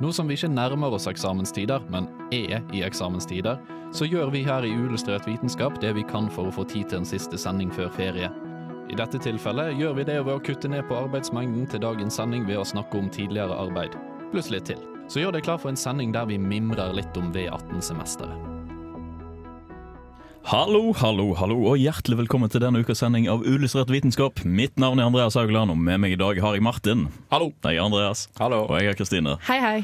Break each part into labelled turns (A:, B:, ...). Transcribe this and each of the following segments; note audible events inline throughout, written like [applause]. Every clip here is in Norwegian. A: Nå som vi ikke nærmer oss eksamenstider, men er i eksamenstider, så gjør vi her i Uillustrert vitenskap det vi kan for å få tid til en siste sending før ferie. I dette tilfellet gjør vi det ved å kutte ned på arbeidsmengden til dagens sending ved å snakke om tidligere arbeid, pluss litt til. Så gjør deg klar for en sending der vi mimrer litt om V18-semesteret.
B: Hallo, hallo, hallo, og hjertelig velkommen til denne ukas sending av Uillustrert vitenskap. Mitt navn er Andreas Haugland, og med meg i dag har jeg Martin.
A: Hallo!
B: Jeg er Andreas.
A: Hallo.
B: Og jeg er Kristine.
C: Hei, hei.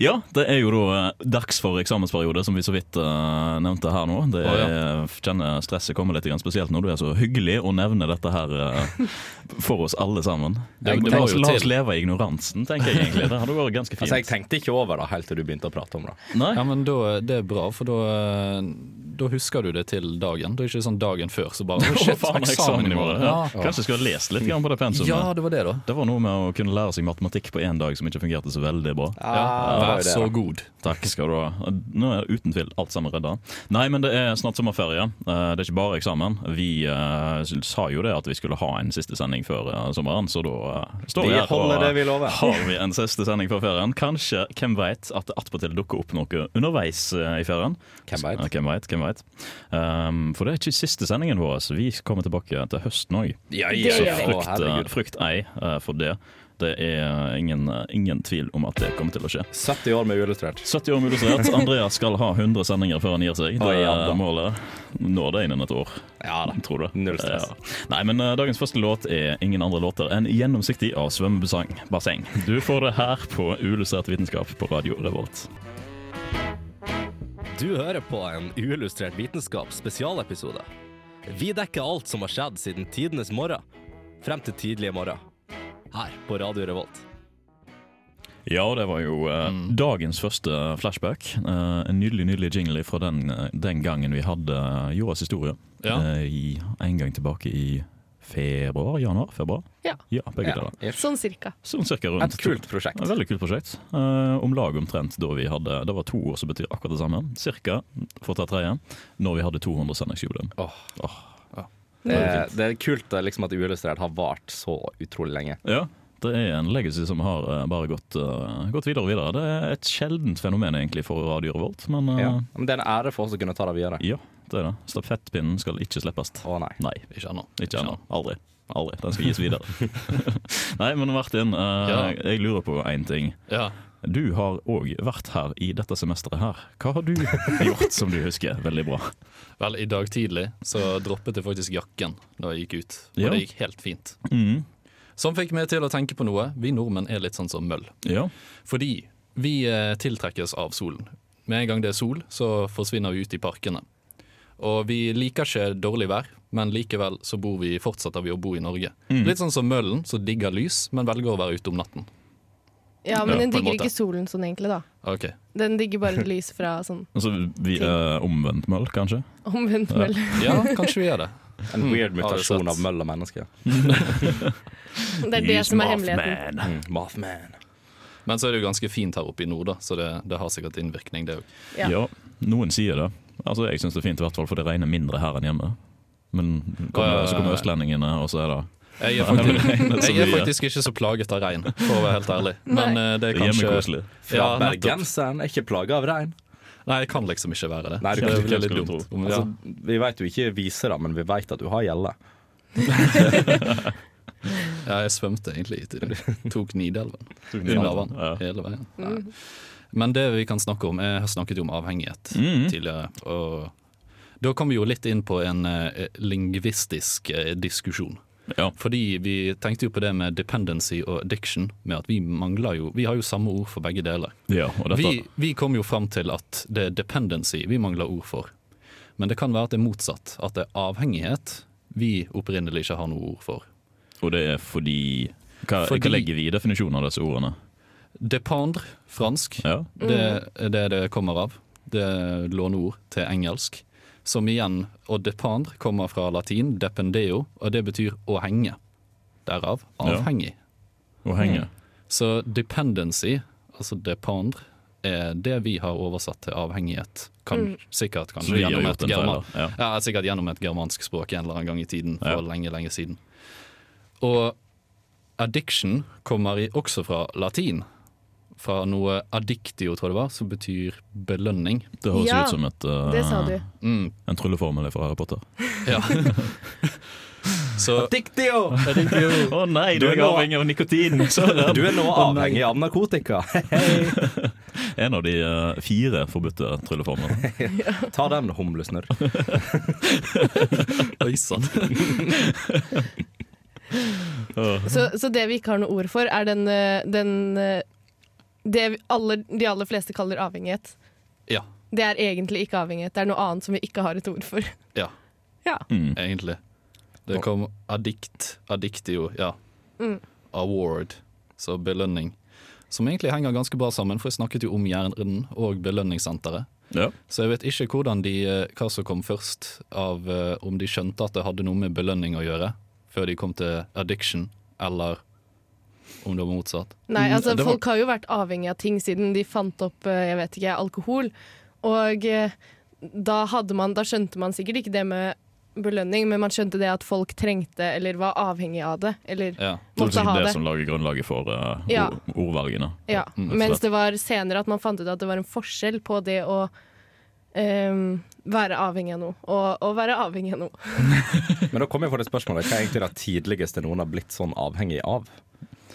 B: Ja, det er jo da eh, dags for eksamensperiode, som vi så vidt eh, nevnte her nå. Det
A: Å,
B: er, kjenner stresset kommer litt, grann, spesielt når du er så hyggelig å nevne dette her eh, for oss alle sammen.
A: Det- det
B: la,
A: må
B: oss,
A: jo
B: la oss
A: til.
B: leve i ignoransen, tenker jeg egentlig. Det hadde vært
A: [laughs]
B: ganske fint.
D: Altså, jeg tenkte ikke over det helt til du begynte å prate om det.
B: Nei?
A: Ja, men da, det er bra, for da, da husker du det til dagen. Det er ikke sånn dagen før, så bare «Å,
B: [laughs] Å,
A: shit,
B: faen, eksamen i morgen. Ja. Kanskje sånn jeg skulle ha lest litt grann på det
A: Ja.
B: pensumet.
A: ja, det var det, da.
B: Det var noe med å kunne lære seg matematikk på én dag som ikke fungerte så veldig bra.
A: Ah. Vær så god.
B: Takk skal du ha. Nå er det uten tvil alt sammen redda. Nei, men det er snart sommerferie. Eh, Det er ikke bare eksamen. Vi eh, sa jo det at vi skulle ha en siste sending før eh, sommeren, så da eh, står
D: Vi
B: vi her
D: holder
B: og
D: det vi lover.
B: har vi en siste sending før ferien. Kanskje, hvem veit, at det attpåtil dukker opp noe underveis eh, i ferien.
D: Hvem vet?
B: Ja, Hvem veit, hvem vet. Ehm, for det er ikke siste sendingen vår. så Vi kommer tilbake til høsten òg.
D: Ja,
C: Det
B: Så
C: gjør vi.
B: frykt, eh,
D: herregud.
B: frykt ei eh, for det. Det er ingen, eh, ingen tvil om at det kommer til å skje.
D: 70 eh, år med uillustrert.
B: 70 år med illustrert. Andreas skal ha 100 sendinger før han gir seg. Det
D: Oi, ja da.
B: er målet. Når det innen et år,
D: Ja da.
B: tror du.
D: Null stress.
B: Ja. Nei, men eh, dagens første låt er ingen andre låter enn 'Gjennomsiktig' av Svømmebasseng. Basseng. Du får det her på Uillustrert vitenskap på radio Revolt.
E: Du hører på en uillustrert vitenskap spesialepisode. Vi dekker alt som har skjedd siden tidenes morgen, frem til tidlige morgen. Her på Radio Revolt.
B: Ja, og det var jo eh,
D: Mm.
B: dagens første flashback. Eh, en nydelig nydelig jingle fra den, eh, den gangen vi hadde eh, jordas historie.
A: Ja.
B: Eh, i, en gang tilbake i februar? Januar? Februar?
C: Ja.
B: ja begge deler.
C: Sånn cirka.
B: Sånn cirka rundt.
D: Et kult prosjekt.
B: Et veldig kult prosjekt. Eh, om lag omtrent da vi hadde Det var to år som betyr akkurat det samme. Cirka, for å ta tredje, når vi hadde 200 sendingsjubileum.
D: Åh.
B: Ja.
D: Det, er- Eh, det er kult eh, liksom, at uillustrert har vart så utrolig lenge.
B: Ja, det er en legacy som har eh, bare gått, eh, gått videre og videre. Det er et sjeldent fenomen egentlig for Radio Revolt, men eh,
D: Ja. Men det er en ære for oss å kunne ta det videre.
B: ja, det er det. Stafettpinnen skal ikke slippes.
D: Å nei.
B: Nei,
A: Ikke ennå.
B: ikke ennå. Aldri. Aldri. Den skal gis videre. Nei, men Martin, eh,
A: Ja.
B: jeg lurer på én ting.
A: Ja.
B: Du har òg vært her i dette semesteret her. Hva har du gjort som du husker veldig bra?
A: Vel, i dag tidlig så droppet jeg faktisk jakken da jeg gikk ut, og
B: Ja.
A: det gikk helt fint.
B: Mm.
A: Som fikk meg til å tenke på noe. Vi nordmenn er litt sånn som møll.
B: Ja.
A: Fordi vi eh, tiltrekkes av solen. Med en gang det er sol, så forsvinner vi ut i parkene. Og vi liker ikke dårlig vær, men likevel så bor vi, fortsetter vi å bo i Norge. Litt sånn som møllen, som digger lys, men velger å være ute om natten.
C: Ja, men
A: Ja,
C: den
A: på en
C: digger
A: måte.
C: ikke solen sånn egentlig, da.
A: Ah, Ok,
C: Den digger
A: [laughs]
C: bare lys fra sånn
B: Altså, vi er omvendt møll, kanskje?
C: omvendt møll.
A: Ja, kanskje vi er det.
D: En weird
A: har du
D: mutasjon
A: sett.
D: av møll og menneske.
C: [laughs] Det er det som er hemmeligheten.
D: Mm. Mothman.
A: Men så er det jo ganske fint her oppe i nord, da, så det, det har sikkert innvirkning, det òg.
C: Ja.
B: Ja. noen sier det. Altså, Jeg syns det er fint, i hvert fall, for det regner mindre her enn hjemme. Men kommer,
A: Øh.
B: så kommer østlendingene, og så er det
A: Jeg er,
B: Ja, det
A: faktisk,
B: regner så
A: jeg er
B: mye.
A: faktisk ikke så plaget av regn, for å være helt ærlig. Men eh, det er kanskje
B: hjemmekoselig.
D: Fra
A: Ja, nettopp.
D: bergenseren er ikke plaga av regn.
A: Nei, jeg kan liksom ikke være det.
D: Nei, du
A: det
D: kan
A: er
D: ikke,
A: vel
B: hvem
A: litt
B: skulle
A: dumt.
B: tro.
A: Om-
D: Altså,
A: ja.
D: vi veit jo ikke viser det, men vi veit at du har gjelle.
A: Ja, jeg svømte egentlig hit i dag. Tok Nidelven under vann
B: Ja.
A: hele veien. Nei. Men det vi kan snakke om Jeg har snakket jo om avhengighet tidligere. Og da kommer vi jo litt inn på en eh, lingvistisk eh, diskusjon.
B: Ja.
A: Fordi vi tenkte jo på det med dependency og addiction, med at vi mangler jo Vi har jo samme ord for begge deler.
B: ja, og dette
A: Vi, vi kom jo fram til at det er dependency vi mangler ord for. Men det kan være at det er motsatt. At det er avhengighet vi opprinnelig ikke har noe ord for.
B: Og det er fordi hva,
A: Fordi-
B: hva legger vi i definisjonen av disse ordene?
A: Dependre, fransk,
B: Ja.
A: det er det det kommer av. Det er låneord til engelsk. Som igjen, og dependre kommer fra latin, dependeo, og det betyr å henge. Derav avhengig.
B: Å henge.
A: Så dependency, altså dependre, er det vi har oversatt til avhengighet. Kan, Sikkert kanskje
B: Så vi har
A: gjennom
B: gjort
A: et,
B: en feil,
A: german,
B: da. Ja.
A: ja. sikkert gjennom et germansk språk en eller annen gang i tiden, for
B: Ja.
A: lenge, lenge siden. Og addiction kommer i, også fra latin, fra noe addiktio, tror jeg det var, som betyr belønning.
B: Det høres
C: Ja,
B: ut som et, eh,
C: Det sa du.
A: Mm,
B: en trylleformel fra Harry Potter. [laughs]
A: ja. Så
D: Diktio!
B: Å nei,
D: du er nå-
B: av nikotin! Søren!
D: [laughs] Du er nå
B: Å, nei.
D: avhengig av narkotika.
B: [laughs]
D: [laughs]
B: En av de eh, fire forbudte trylleformene.
D: Ta den, humlesnørr.
A: Oi sann.
C: Så, så det vi ikke har noe ord for, er den, eh, den eh, Det vi aller, de aller fleste kaller avhengighet.
A: Ja.
C: Det er egentlig ikke avhengighet. Det er noe annet som vi ikke har et ord for. [laughs]
A: Ja,
C: Ja.
B: Mm.
A: egentlig. Det kom addikt, addictio, ja.
C: Mm.
A: Award, så belønning. Som egentlig henger ganske bra sammen, for jeg snakket jo om hjernen og belønningssenteret.
B: Ja.
A: Så jeg vet ikke hvordan de, eh, hva som kom først, av eh, om de skjønte at det hadde noe med belønning å gjøre, før de kom til addiction, eller om det var motsatt.
C: Nei,
A: Mm,
C: altså
A: det var-
C: Folk har jo vært avhengig av ting siden de fant opp eh, jeg vet ikke, alkohol. Og eh, da, hadde man, da skjønte man sikkert ikke det med belønning, men man skjønte det at folk trengte eller var avhengig av det. Eller,
A: Ja.
B: Det er
C: Måtte ha
B: sikkert det
C: det.
B: som lager grunnlaget for eh,
C: Ja.
B: ord- ordvalgene.
C: ja.
A: Mm,
C: Mens det var senere at man fant ut at det var en forskjell på det å eh, være avhengig av noe og å være avhengig av noe.
D: Men da kommer jeg for det spørsmålet Hva er egentlig det tidligste noen har blitt sånn avhengig av?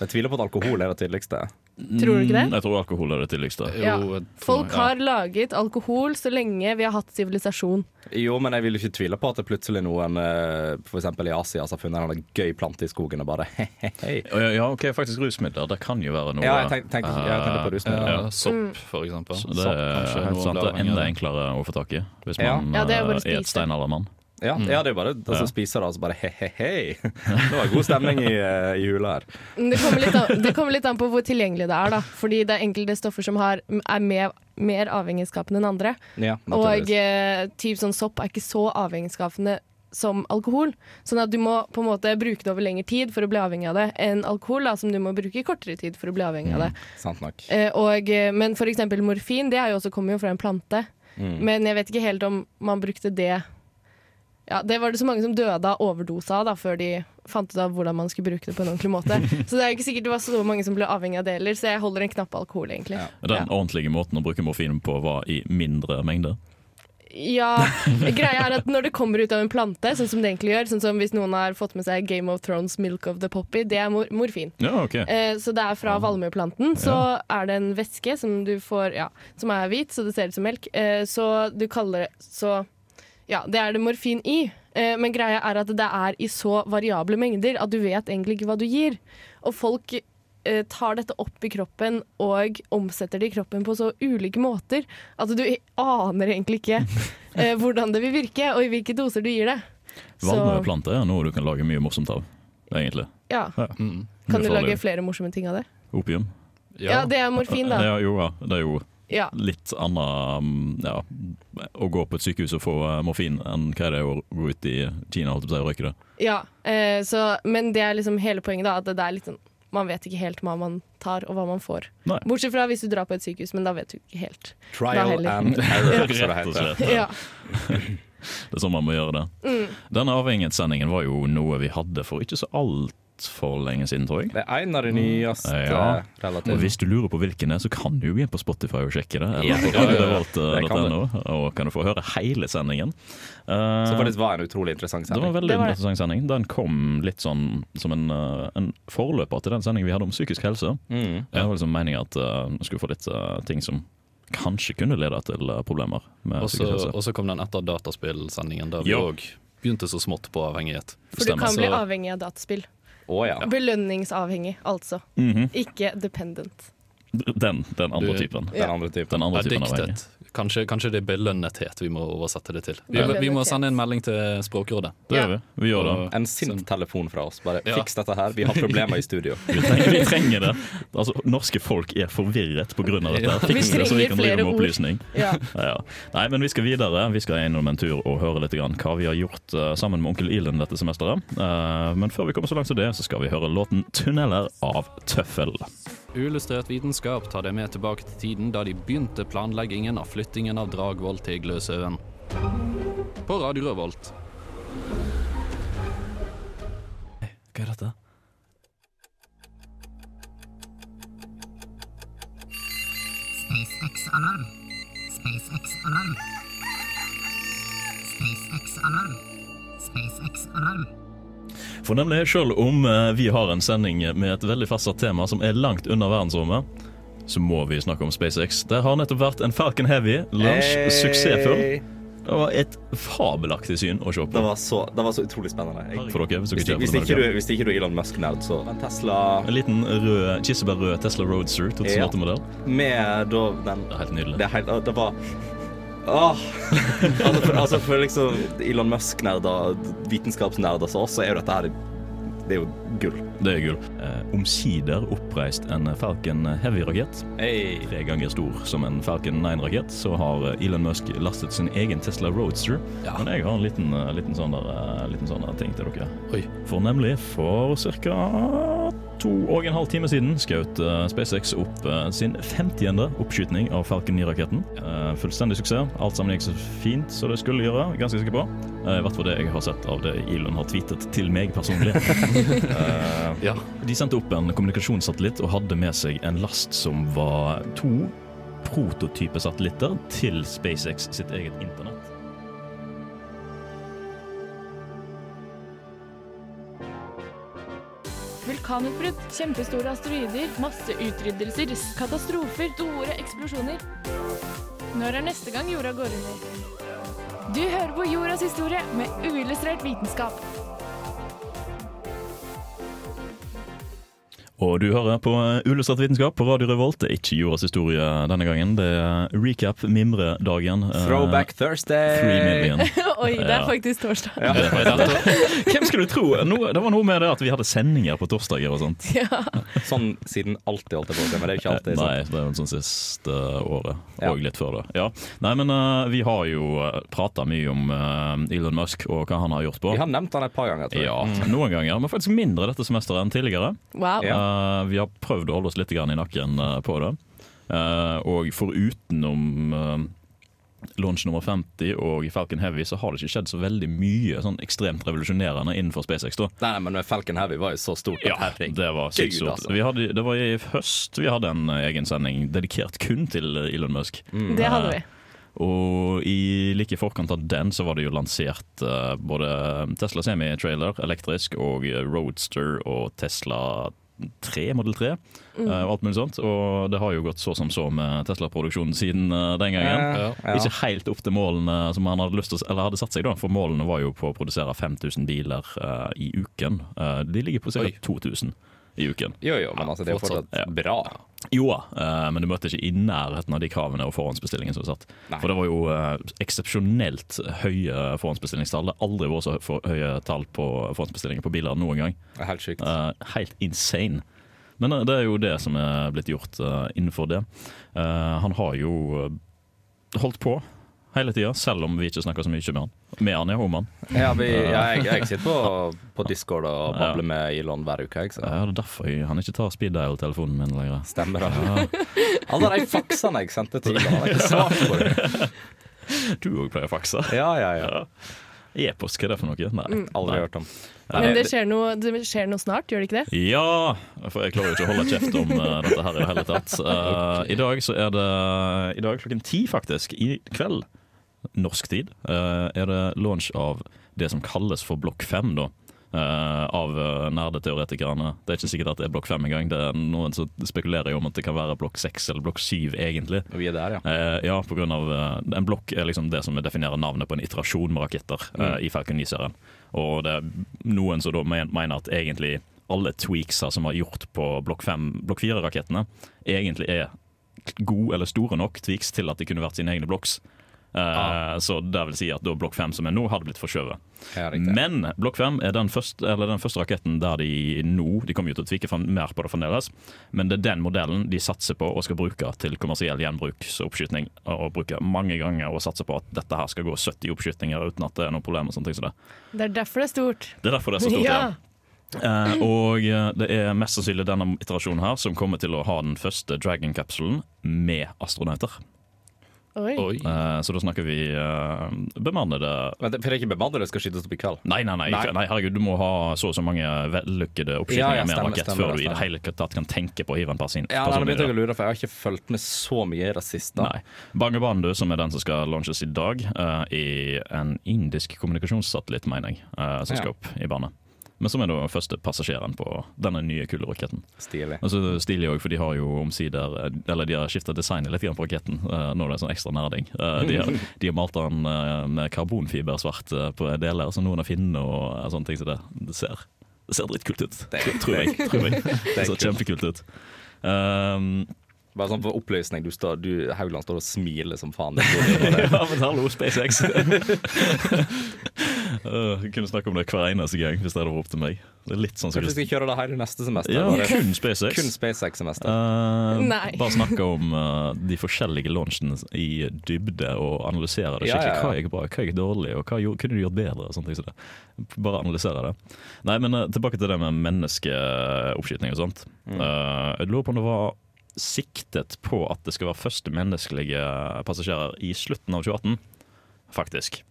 D: Jeg tviler på at alkohol er det tidligste.
C: Tror du ikke det?
B: Mm, Jeg tror alkohol er det tidligste.
C: Ja.
A: Jo, jeg tror-
C: Folk
A: ja.
C: har laget alkohol så lenge vi har hatt sivilisasjon.
D: Jo, men jeg vil ikke tvile på at det plutselig noen eh, for eksempel i Asia som har funnet en eller annen gøy plante i skogen og bare hei.
B: Ja, Ja, ja, ok, faktisk rusmidler. Det kan jo være noe eh,
D: Ja, jeg tenk- tenkte- jeg tenkte på rusmidler.
B: Ja.
A: Ja,
C: Mm.
A: sopp, for eksempel.
B: Det
A: Sopp,
B: er
A: kanskje
B: helt
A: noen
B: sant. Det
A: blir
B: er
A: avhengig av
B: enda
A: det.
B: enklere å få tak i hvis
D: Ja.
B: man
C: Ja, det er
B: eh,
C: bare å
B: er et
C: spise.
B: steinaldermann.
D: Ja, Mm. ja, det er bare å spise det, og så bare he-he-hei. Det var god stemning i, eh, i hula her.
C: Men Det kommer, litt an, det kommer litt an på hvor tilgjengelig det er. da Fordi det er enkelte stoffer som har, er mer, mer avhengighetsskapende enn andre.
D: Ja,
C: Og
D: naturligvis.
C: eh, typ sånn sopp er ikke så avhengighetsskapende som alkohol. Sånn at du må på en måte bruke det over lengre tid for å bli avhengig av det, enn alkohol da som du må bruke i kortere tid for å bli avhengig av det.
D: Sant nok.
C: Eh, og, eh, men for eksempel morfin det er jo også, kommer jo fra en plante.
D: Mm.
C: Men jeg vet ikke helt om man brukte det ja, Det var det så mange som døde av overdose av da, før de fant ut av hvordan man skulle bruke det på en ordentlig måte. Så det er jo ikke sikkert det var så mange som ble avhengig av det heller, så jeg holder en knapp på alkohol, egentlig.
D: Ja.
B: Den ordentlige måten å bruke morfin på var i mindre mengder.
C: Ja, greia er at når det kommer ut av en plante, sånn som det egentlig gjør, sånn som hvis noen har fått med seg Game of Thrones Milk of the Poppy, det er mor morfin.
B: Ja, ok.
C: Eh, så det er fra valmueplanten. Så er det en væske som du får, ja, som er hvit, så det ser ut som melk. Eh, så du kaller det så Ja, det er det morfin i. Eh, men greia er at det er i så variable mengder at du vet egentlig ikke hva du gir. Og folk eh, tar dette opp i kroppen og omsetter det i kroppen på så ulike måter at du i- aner egentlig ikke eh, hvordan det vil virke, og i hvilke doser du gir det. Så
B: Valmueplanter er noe du kan lage mye morsomt av, egentlig.
C: ja,
A: Mm.
C: kan du
B: Ufarlig.
C: lage flere morsomme ting av det?
B: Opium.
C: Ja, det er morfin, da.
B: Ja, jo, ja. Det er jo
C: Ja.
B: litt annet mm, ja, å gå på et sykehus og få eh, morfin enn hva det er å gå ut i Kina holdt jeg på å si, og røyke det.
C: Ja, eh, så, men det er liksom hele poenget da, at det er litt sånn man vet ikke helt hva man tar og hva man får.
B: Nei.
C: Bortsett fra hvis du drar på et sykehus, men da vet du ikke helt. Da
D: Trial
B: [laughs]
C: heller.
D: and error, som det
B: Rett og
D: heter.
B: slett.
C: Ja.
B: Det er sånn man må gjøre det.
D: Mm.
B: Denne avhengighetssendingen var jo noe vi hadde for ikke så altfor lenge siden, tror jeg.
D: Det er en av de nyeste
B: Ja. Og
D: relativt.
B: hvis du lurer på hvilken det er, så kan du jo gå inn på Spotify og sjekke det. Eller
D: Ja,
B: på
D: det kan du. Det kan
B: radiorevolt.no, og kan du få høre hele sendingen. Eh,
D: Så faktisk var det en utrolig interessant
B: det var
D: sending.
B: en veldig
C: Det var det.
B: interessant sending. Den kom litt sånn som en, eh, en forløper til den sendingen vi hadde om psykisk helse.
D: Mm.
B: Det var liksom meningen at eh, vi skulle få litt eh, ting som kanskje kunne lede til eh, problemer med
A: Og så-
B: psykisk helse.
A: Og så kom den etter dataspillsendingen, der vi
B: altså. Ja.
A: òg begynte så smått på avhengighet.
C: For du kan
A: Så-
C: bli avhengig av dataspill.
D: Å ja.
C: Belønningsavhengig, altså.
B: Mhm.
C: Ikke dependent.
B: Den, den andre
A: Du-
B: typen.
D: Den andre typen.
B: Den andre typen av avhengig.
A: Addiktet. Kanskje, kanskje det er belønnethet vi må oversette det til. Vi,
C: Belønnethet.
A: vi må sende en melding til Språkrådet.
B: Det gjør vi. Vi gjør det.
A: Og-
D: En sint telefon fra oss. Bare
A: Ja.
D: fiks dette her, vi har problemer i studio.
B: [laughs] Vi trenger, vi trenger det. Altså, norske folk er forvirret pga. dette.
A: Ja.
B: Fiks det, så vi
C: Vi trenger
B: kan drive
C: flere
B: med
C: ord.
B: opplysning.
C: Ja.
B: Ja. Nei, men vi skal videre. Vi skal innom en tur og høre litt grann hva vi har gjort eh, sammen med Onkel Ilen dette semesteret. Eh, men før vi kommer så langt som det, så skal vi høre låten 'Tunneler' av Tøffel.
A: Uillustrert vitenskap tar deg med tilbake til tiden da de begynte planleggingen av flyttingen av Dragvoll til Gløshaugen. På Radio Revolt.
B: Hva er dette?
F: SpaceX-alarm. SpaceX-alarm. SpaceX-alarm. SpaceX-alarm.
B: For nemlig, selv om eh, vi har en sending med et veldig fastsatt tema som er langt unna verdensrommet, så må vi snakke om SpaceX. Der har nettopp vært en Falcon Heavy lunsj
D: Hey!
B: suksessfull. Det var et fabelaktig syn å se på.
D: Det var så, det var så utrolig spennende. Jeg,
B: For dere, hvis dere
D: hvis,
B: ikke
D: hvis,
B: har fått med
D: ikke du,
B: dere.
D: hvis ikke du er Elon Musk-nerd, så Men Tesla
B: En liten rød, kirsebærrød Tesla Roadster 2008-modell.
D: med da den
B: Det er helt nydelig.
D: Det, er helt, det var Åh! [laughs] altså, for, altså for liksom Elon Musk-nerder, vitenskapsnerder som oss, så er jo dette her Det er jo gull.
B: Det er gull. Eh, Omsider oppreist en Falcon Heavy-rakett. Tre ganger stor som en Falcon 9-rakett. Så har Elon Musk lastet sin egen Tesla Roadster. Men jeg har en liten, eh, liten, sånn der, eh, liten sånn der ting til dere.
A: Oi.
B: For nemlig for ca. to og en halv time siden skjøt eh, SpaceX opp eh, sin 50. oppskytning av Falcon 9-raketten. Eh, Fullstendig suksess. Alt sammen gikk så fint som det skulle gjøre. Ganske sikker på. Eh, I hvert fall det jeg har sett av det Elon har tweetet til meg personlig. Eh,
A: Ja.
B: de sendte opp en kommunikasjonssatellitt og hadde med seg en last som var to prototypesatellitter til SpaceX sitt eget internett.
G: [laughs] Vulkanutbrudd, kjempestore asteroider, masseutryddelser, katastrofer, store eksplosjoner. Når er neste gang jorda går under? Du hører på Jordas historie med uillustrert vitenskap.
B: Og du hører på Uillustrert vitenskap på Radio Revolt. Det er ikke jordas historie denne gangen. Det er recap mimredagen. eh,
D: Throwback Thursday.
B: Three million.
C: [laughs] Oi, det
B: Ja.
C: er faktisk torsdag. [laughs]
B: Det er faktisk det. Hvem skulle du tro? Noe, det var noe med det at vi hadde sendinger på torsdager og sånt.
D: [laughs] Sånn siden alltid, holdt jeg på å si, men det er jo ikke alltid sånn.
B: Nei, det er jo sånn siste året,
D: Ja.
B: og litt før det. Ja. Nei, men eh, vi har jo prata mye om eh, Elon Musk og hva han har gjort på.
D: Vi har nevnt han et par ganger, tror jeg. Mm.
B: Ja, noen ganger, men faktisk mindre dette semesteret enn tidligere.
C: Wow.
D: Ja.
B: Eh, vi har prøvd å holde oss litt grann i nakken eh, på det. Eh, og foruten om eh, launch nummer 50 og Falcon Heavy, så har det ikke skjedd så veldig mye sånn ekstremt revolusjonerende innenfor SpaceX. da.
D: Nei, men Falcon Heavy var jo så stort. at herregud.
B: det var
D: Gud,
B: sykt stort.
D: altså.
B: Vi hadde- Det var i høst vi hadde en eh, egen sending dedikert kun til eh, Elon Musk.
C: Det hadde vi.
B: Og i like i forkant av den så var det jo lansert eh, både Tesla semi-trailer elektrisk og Roadster og Tesla 3, Model 3 eh,
D: Mm.
B: og alt mulig sånt. Og det har jo gått så som så med Tesla-produksjonen siden eh, den gangen.
D: Ja, ja.
B: Ikke helt opp til målene som han hadde lyst til å, eller hadde satt seg, da, for målene var jo på å produsere 5000 biler eh, i uken. Eh, de ligger på ca.
A: Oi.
B: 2000 i uken.
D: Jo, jo, men altså, det er jo
A: Fortsatt,
D: fortsatt bra.
B: Jo da, eh, men du møtte ikke i nærheten av de kravene og forhåndsbestillingen som var satt.
D: Nei.
B: For det var jo eh, eksepsjonelt høye forhåndsbestillingstall. Det har aldri vært så hø- for høye tall på forhåndsbestillinger på biler noen gang.
D: Det er Helt sykt.
B: Eh, helt insane. Men eh, det er jo det som er blitt gjort eh, innenfor det. Eh, han har jo eh, holdt på hele tida, selv om vi ikke snakker så mye med han. Med han, ja, om han.
D: Ja, vi, ja, jeg, jeg sitter på, på Discord og babler med Elon hver uke. Jeg, så.
B: Ja, det er derfor jeg, han ikke tar speed dial-telefonen min lenger.
D: Stemmer det. [laughs] Alle de faksene jeg sendte til Elon, har jeg ikke svart på. det.
B: Du òg pleier å fakse.
D: Ja, ja, ja.
B: E-post, hva er det for noe? Nei.
D: Aldri hørt om.
C: Men det skjer, noe, det skjer noe snart, gjør det ikke det?
B: Ja! For jeg klarer jo ikke å holde kjeft om eh, dette her i det hele tatt. Eh, I dag så er det I dag klokken ti, faktisk, i kveld, norsk tid, eh, er det launch av det som kalles for Blokk 5, da. eh, av eh, nerdeteoretikerne. Det er ikke sikkert at det er Blokk 5 engang. Det er Noen som spekulerer jo om at det kan være Blokk 6 eller Blokk 7, egentlig.
D: Vi er der, ja.
B: Eh, ja, på grunn av eh, En blokk er liksom det som definerer navnet på en iterasjon med raketter eh, i Falcon 9-serien. Og det er noen som da men- mener at egentlig alle tweakser som er gjort på blokk 5 blokk 4-rakettene, egentlig er gode eller store nok tweaks til at de kunne vært sine egne blokks. Eh, Så det vil si at da blokk 5 som er nå, hadde blitt forskjøvet.
D: ja riktig.
B: Men Blokk 5 er den første, eller den første raketten der de nå De kommer jo til å tvike frem- mer på det fremdeles, men det er den modellen de satser på og skal bruke til kommersiell gjenbruksoppskyting. Og bruke mange ganger og satse på at dette her skal gå 70 oppskytinger uten at det er noe problem. og sånne ting som det.
C: Det er derfor det er stort.
B: Det er derfor det er så stort.
C: Ja.
B: ja.
C: [laughs]
B: Eh, og eh, det er mest sannsynlig denne iterasjonen her som kommer til å ha den første Dragon-kapselen med astronauter.
C: Oi.
A: Oi.
B: Eh, så da snakker vi eh, bemannede
D: Vent, For det er ikke bemannet, det skal skytes opp i kveld.
B: Nei, nei, nei,
D: Nei.
B: nei, herregud, du må ha så og så mange vellykkede
D: Ja,
B: oppskytninger med
D: ja,
B: en
D: stemmer,
B: rakett
D: stemmer,
B: før du i det
D: stemmer.
B: hele tatt kan tenke på å hive en person person
D: Ja, nei, nå
B: i
D: begynte jeg
B: det.
D: å lure, for jeg har ikke fulgt med så mye i det siste.
B: Nei. Bangabandhu, som er den som skal launches i dag, eh, er en indisk kommunikasjonssatellitt, mener jeg, eh, som skal
D: Ja.
B: opp i bane. Men som er da første passasjeren på denne nye kule raketten. [laughs]
D: Stilig.
B: Og så stilig òg, for de har jo omsider eh, Eller de har skifta designet litt grann på raketten. eh, Nå er det sånn ekstra nerding. Eh, De har, de har malt den eh, med karbonfibersvart eh, på deler, så noen av finnene og eh, sånne ting som det. Det ser, det ser dritkult ut.
D: Det er-
B: tror jeg. Tror jeg.
D: [laughs] Det
B: Det
D: er
B: ser
D: kult.
B: kjempekult ut. Um,
D: [laughs] Bare sånn for oppløsning. Du står, du, Haugland står og smiler som
B: [laughs]
D: faen.
B: ja, men hallo, [laughs] SpaceX! Eh, Jeg kunne snakke om det hver eneste gang hvis det hadde vært opp til meg. Det er litt sånn som
D: Kanskje vi skal kjøre det her i neste semester?
B: ja,
D: bare
B: kun SpaceX.
D: kun SpaceX-semester.
B: Eh,
C: Nei.
B: [laughs] Bare snakke om eh, de forskjellige launchene i dybde og analysere det
D: Ja,
B: skikkelig.
D: ja, ja.
B: Hva gikk bra, hva gikk dårlig, og hva gjorde, kunne du gjort bedre? Og sånne ting som det. Bare analysere det. Nei, men eh, tilbake til det med menneskeoppskyting og sånt.
D: Mm.
B: Eh, jeg lurer på om det var siktet på at det skal være første menneskelige passasjerer i slutten av 2018, faktisk.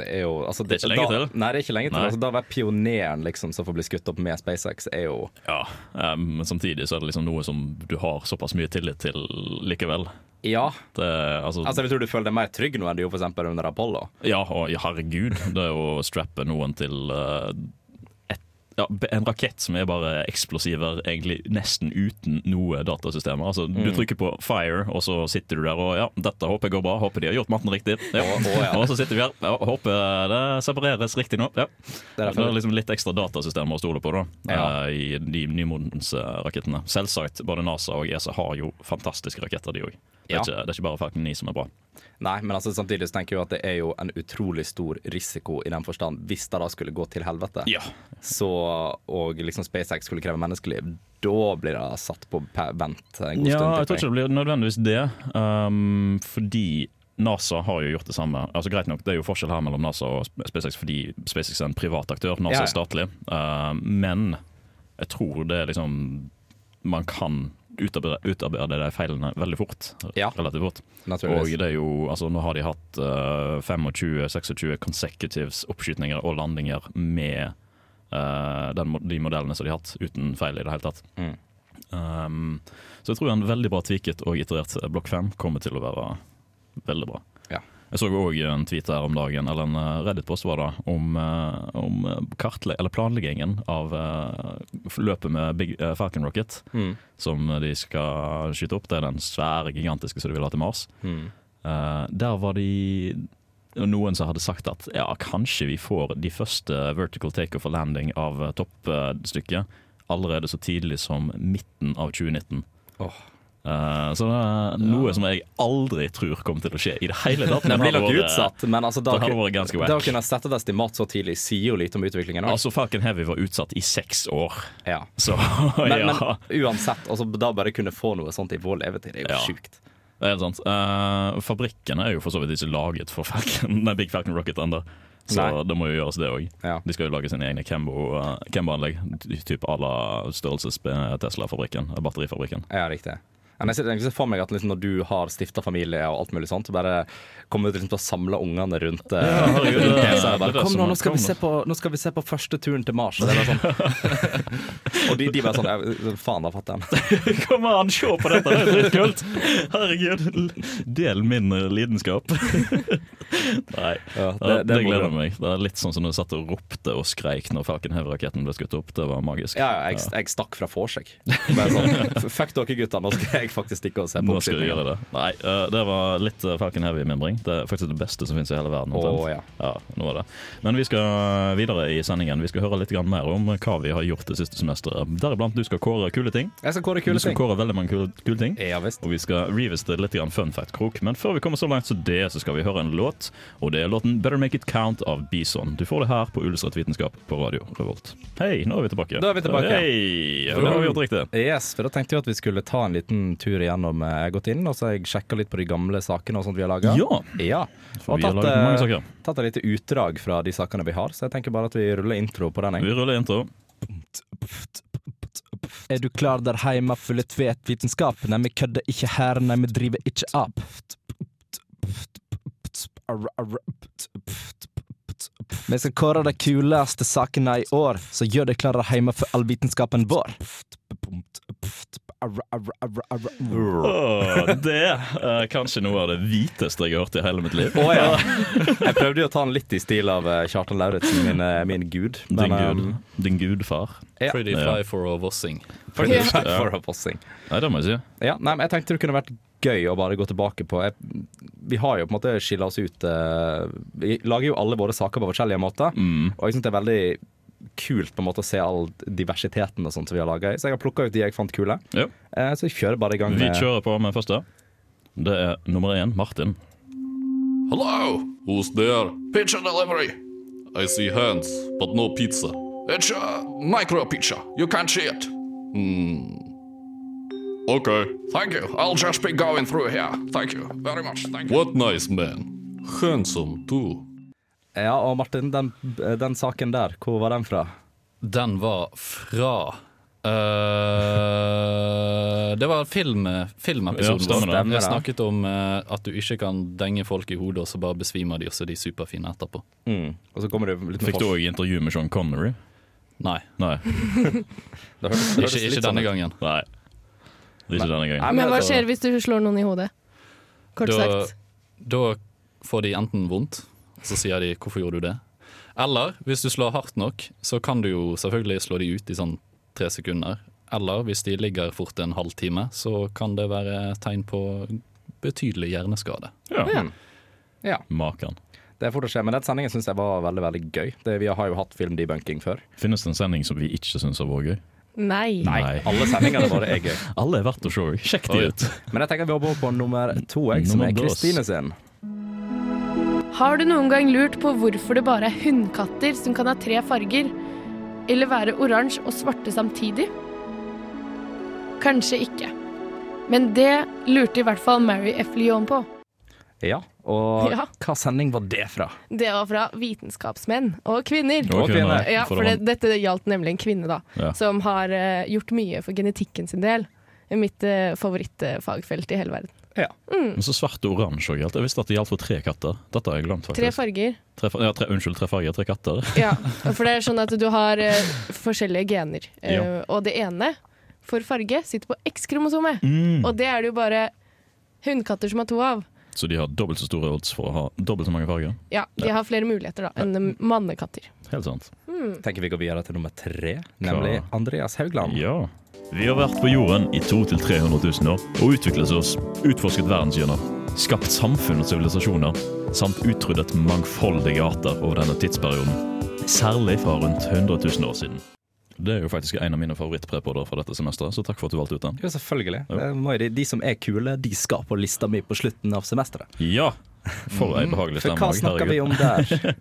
D: Det er jo altså,
B: Det er ikke lenge
D: da,
B: til.
D: Nei, det er ikke lenge til.
B: Nei.
D: Altså, da å være pioneren liksom, som får bli skutt opp med SpaceX, er jo
B: Ja, eh, Men samtidig så er det liksom noe som du har såpass mye tillit til likevel.
D: Ja.
B: Det, altså,
D: Altså, jeg tror du føler deg mer trygg nå enn du gjorde for eksempel under Apollo.
B: Ja, og ja, herregud, det er å strappe noen til eh, et, ja, en rakett som er bare eksplosiver, egentlig nesten uten noe datasystemer. Altså,
D: Mm.
B: Du trykker på fire, og så sitter du der og ja, dette håper jeg går bra, håper de har gjort matten riktig. Ja.
D: Å, å, ja.
B: Og så sitter vi her, ja, håper det separeres riktig nå. Ja.
D: Det er
B: Det er
D: derfor,
B: liksom litt ekstra datasystemer å stole på da,
D: Ja.
B: eh, i de nymodens eh, rakettene. Selvsagt, både NASA og ESA har jo fantastiske raketter, de òg. Det, er
D: Ja.
B: ikke- det er ikke bare Falcon 9 som er bra.
D: nei, men altså, samtidig så tenker jeg jo at det er jo en utrolig stor risiko i den forstand hvis det da skulle gå til helvete, så, og liksom SpaceX skulle kreve menneskeliv, da blir det satt på pe- vent en god
B: Ja,
D: stund.
B: jeg tror ikke det blir nødvendigvis det. ehm, fordi NASA har jo gjort det samme. Altså greit nok, Det er jo forskjell her mellom NASA og SpaceX fordi SpaceX er en privat aktør, NASA
D: Ja, ja.
B: er statlig. Ehm, men jeg tror det er liksom Man kan utarbeide, utarbeide de feilene veldig fort.
D: Ja.
B: Relativt fort. Og
D: Naturligvis.
B: det er jo, altså Nå har de hatt eh, 25-26 consecutives oppskytninger og landinger med eh, den, mo- de modellene som de har hatt, uten feil i det hele tatt.
D: Mm.
B: Um, så jeg tror en veldig bra tweaket og iterert Block 5 kommer til å være veldig bra.
D: Ja.
B: Jeg så òg en tweet her om dagen, eller en eh, Reddit-post var det, om, eh, om eh, kartle eller planleggingen av eh, løpet med Big, eh, Falcon Rocket,
D: Mm.
B: som de skal skyte opp. Det er den svære, gigantiske som de vil ha til Mars.
D: Mm.
B: Eh, der var de noen som hadde sagt at ja, kanskje vi får de første vertical takeoff og landing av eh, toppstykket allerede så tidlig som midten av 2019.
D: Åh.
B: Eh, så det er noe som jeg aldri tror kommer til å skje i det hele
D: [laughs]
B: tatt.
D: Den blir
B: hadde
D: nok
B: vært- eh,
D: utsatt, men altså, da,
B: det hadde vært ganske
D: da å
B: wack.
D: kunne sette et estimat så tidlig sier jo lite om utviklingen. også.
B: Altså, Falcon Heavy var utsatt i seks år, [laughs]
D: Ja.
B: så ja.
D: Men, men uansett, altså, da bare kunne få noe sånt i vår levetid, det er jo
B: Ja.
D: sjukt.
B: Det er helt sant. Eh, fabrikken er jo for så vidt ikke laget for Falcon, [laughs] nei, Big Falcon Rocket ennå, så
D: Nei.
B: det må jo gjøres, det òg.
D: Ja.
B: De skal jo lage sine egne eh, Kembo-anlegg, type à la størrelses-Tesla-fabrikken, batterifabrikken.
D: Ja, riktig. Men jeg ser, jeg ser for meg at liksom, når du har stifta familie og alt mulig sånt, bare kommer du liksom til å samle ungene rundt eh,
B: herregud, det-
D: rundt PC-en og
B: det er sånn det
D: bare, Kom nå,
B: som-
D: nå skal,
B: kom
D: vi
B: nå."
D: se på, nå skal vi se på første turen til Mars. Og, det er bare sånn. [laughs] og de, de bare sånn «Ja, Faen, da fatter jeg den.
B: [laughs] Kom an, se på dette, det er dritkult! Herregud, l- del min eh, [laughs] lidenskap. Nei,
D: Ja,
B: det,
D: det- det må
B: gleder
D: du.
B: meg. Det er litt sånn som når du satt og ropte og skreik når Falcon Heavy-raketten ble skutt opp. Det var magisk.
D: Ja, ja, jeg, jeg stakk fra vorset. Bare Sånn, Fuck dere gutter, nå skal jeg faktisk stikke og se på
B: Nå skal du gjøre det. Nei, eh, det var litt eh, Falcon Heavy-mimring. Det er faktisk det beste som finnes i hele verden. omtrent.
D: Å, ja.
B: nå var det. Men vi skal videre i sendingen. Vi skal høre litt grann mer om eh, hva vi har gjort det siste semesteret. Deriblant du skal kåre kule ting.
D: Jeg skal kåre kule
B: du skal
D: ting.
B: kåre veldig mange kule, kule ting.
D: Ja visst.
B: Og vi skal revisite litt grann fun fact-krok. Men før vi kommer så langt som det, så skal vi høre en låt. Og det er låten 'Better Make It Count' av Bison. Du får det her på Ullestrøm Vitenskap på radio Revolt. Hei, nå er vi tilbake.
D: Da er vi tilbake.
B: Hei, ja, det har vi gjort riktig.
D: Yes, for da tenkte jeg at vi skulle ta en liten tur igjennom. eh, Jeg har gått inn og så har jeg sjekka litt på de gamle sakene og sånt vi har laga.
B: Ja,
D: Ja.
B: for vi har
D: tatt,
B: laget mange
D: eh,
B: saker.
D: tatt et lite utdrag fra de sakene vi har, så jeg tenker bare at vi ruller intro på den. jeg.
B: Vi ruller intro.
D: Er du klar der heima for litt vet vitenskap? Nei, vi kødder ikke her, nei, vi driver ikke ap.
H: Vi skal kåre de kuleste sakene i år, så gjør deg klare hjemme for all vitenskapen vår.
B: Åh, det er kanskje noe av det hviteste jeg har hørt i hele mitt liv.
D: Å, ja. Jeg prøvde jo å ta den litt i stil av eh, Kjartan Lauritzen, min, eh, min gud.
B: Din,
D: Men, eh,
B: gud, din gudfar.
D: Ja.
A: Pretty fly for a vossing.
D: Pretty much for a bossing.
B: Nei, det må jeg si.
D: Ja, nei, men jeg tenkte det kunne vært gøy å bare gå tilbake på. Jeg, vi har jo på en måte skilla oss ut eh, Vi lager jo alle våre saker på forskjellige måter.
B: Mm.
D: Og jeg syns det er veldig kult på en måte å se all diversiteten og sånt som vi har laga. Så jeg har plukka ut de jeg fant kule.
B: Ja.
D: Eh, så jeg kjører bare i gang
B: Vi
D: med
B: kjører på med første. Det er nummer én, Martin.
I: Hello, who's there? Pizza delivery. I see hands, but no pizza. It's a micro pizza. You can't see it. Hmm. Okay. Thank you. I'll just be going through here. Thank you very much. Thank you. What nice man. Handsome too.
D: Ja, og Martin, den, den saken der, hvor var den fra?
A: Den var fra eh, Det var film,
B: Ja,
A: filmepisoden vår.
B: stemmer det.
D: Stemmer det.
A: Jeg snakket om eh, at du ikke kan denge folk i hodet, og så bare besvimer de, og så er de superfine etterpå.
D: Mm. Og så kommer det litt
B: Fikk du òg intervju med Sean Connery?
A: Nei,
B: Nei.
D: Det høres- det høres
A: ikke,
D: litt
A: ikke
D: sånn
A: denne
D: ut.
A: gangen.
B: Nei. Det er ikke denne gangen.
C: Men
D: altså-
C: hva skjer hvis du slår noen i hodet? Kort
A: Da,
C: sagt.
A: da får de enten vondt, så sier de 'hvorfor gjorde du det?' Eller hvis du slår hardt nok, så kan du jo selvfølgelig slå de ut i sånn tre sekunder. Eller hvis de ligger fort en halvtime, så kan det være tegn på betydelig hjerneskade.
B: Ja.
D: Ja.
B: Maken.
D: Det er fort å skje, men den sendingen syns jeg var veldig veldig gøy. Det, vi har jo hatt filmdebunking før.
B: Finnes det en sending som vi ikke syns har vært gøy?
C: Nei.
B: Nei.
D: Alle sendingene våre er gøy.
B: Alle er verdt å se. Sjekk de ut.
D: Men jeg tenker vi hopper over på nummer to, jeg, som
B: Nummer
D: er
B: dos.
D: Kristine sin.
G: Har du noen gang lurt på hvorfor det bare er hundkatter som kan ha tre farger, eller være oransje og svarte samtidig? Kanskje ikke. Men det lurte i hvert fall Mary F. Lyon på.
D: Ja, og
C: Ja.
D: hva sending var det fra?
C: Det var fra vitenskapsmenn og kvinner.
B: Og kvinner.
C: Ja, for det, dette gjaldt nemlig en kvinne da,
B: Ja.
C: som har eh, gjort mye for genetikken sin del. Mitt eh, favorittfagfelt i hele verden.
B: Men så svart og oransje òg gjaldt. Jeg visste at det gjaldt for tre katter. Dette har jeg glemt,
C: Tre
B: faktisk.
C: farger.
B: Tre far ja, tre, unnskyld, tre farger, tre katter.
C: Ja, for det er sånn at du har eh, forskjellige gener. Eh,
B: Ja.
C: Og det ene, for farge, sitter på X-kromosomet.
B: Mm.
D: Mm.
C: Og det er det jo bare hundkatter som har to av.
B: Så de har dobbelt så store odds for å ha dobbelt så mange farger.
C: Ja, De har flere muligheter da enn eh, mannekatter.
B: Helt sant.
D: Tenker vi går videre til nummer tre, nemlig
B: Klar.
D: Andreas Haugland.
B: Ja. Vi har vært på jorden i 200 000-300 000 år og utviklet oss, utforsket verdenshjørner, skapt samfunn og sivilisasjoner, samt utryddet mangfoldige arter over denne tidsperioden. Særlig fra rundt 100 000 år siden. Det er jo faktisk en av mine favorittprepoder fra dette semesteret, så takk for at du valgte ut den.
D: Jo, selvfølgelig.
B: Jo.
D: Det må jo De, de som er kule, de skal på lista mi på slutten av semesteret.
B: Ja! For ei behagelig
D: For
B: stemme.
D: hva
B: Herregud.
D: snakker vi om [laughs] der?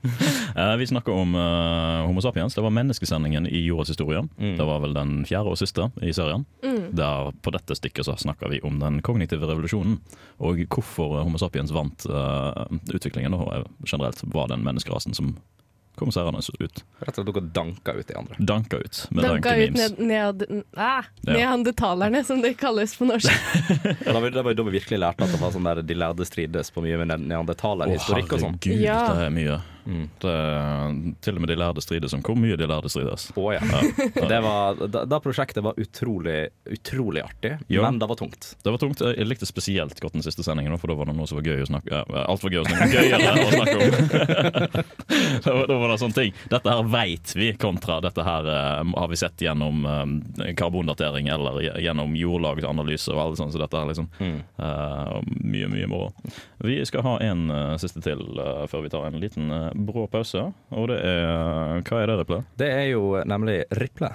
B: Eh, Vi snakker om eh, Homo sapiens. Det var menneskesendingen i jordas historie. Det var vel den fjerde og siste i serien.
C: Mm.
B: Der På dette stikket så snakker vi om den kognitive revolusjonen. Og hvorfor Homo sapiens vant eh, utviklingen. Og generelt var den menneskerasen som kom seirende ut.
D: Rett og slett dere danker ut de andre.
B: Danka ut med
C: Danka
B: danke
C: ut
B: memes.
C: ned, ned, ah,
B: Ja.
C: neandertalerne, som det kalles på norsk. [laughs]
D: Da var, da var da vi virkelig lærte at det var sånn der de lærde strides på mye med ne-
B: Å,
D: neandertalerhistorikk og sånn.
B: herregud,
C: Ja.
B: det er mye. Det er, til og med de lærde strides om hvor mye de lærde strides.
D: Å ja. Det var, da, da prosjektet var utrolig, utrolig artig,
B: Jo.
D: men det var tungt.
B: Det var tungt. Jeg likte spesielt godt den siste sendingen, for da var det noe som var gøy å snakke ja, Alt var gøy å snakke gøyere å snakke om. [laughs] da, var, da var det sånne ting. Dette her veit vi, kontra dette her eh, har vi sett gjennom eh, karbondatering eller gje- gjennom jordlagsanalyse og alt sånt. Så dette er liksom eh, mye, mye moro. Vi skal ha en eh, siste til eh, før vi tar en liten eh, brå pause, og det er Hva er det, Riple?
D: Det er jo nemlig Riple.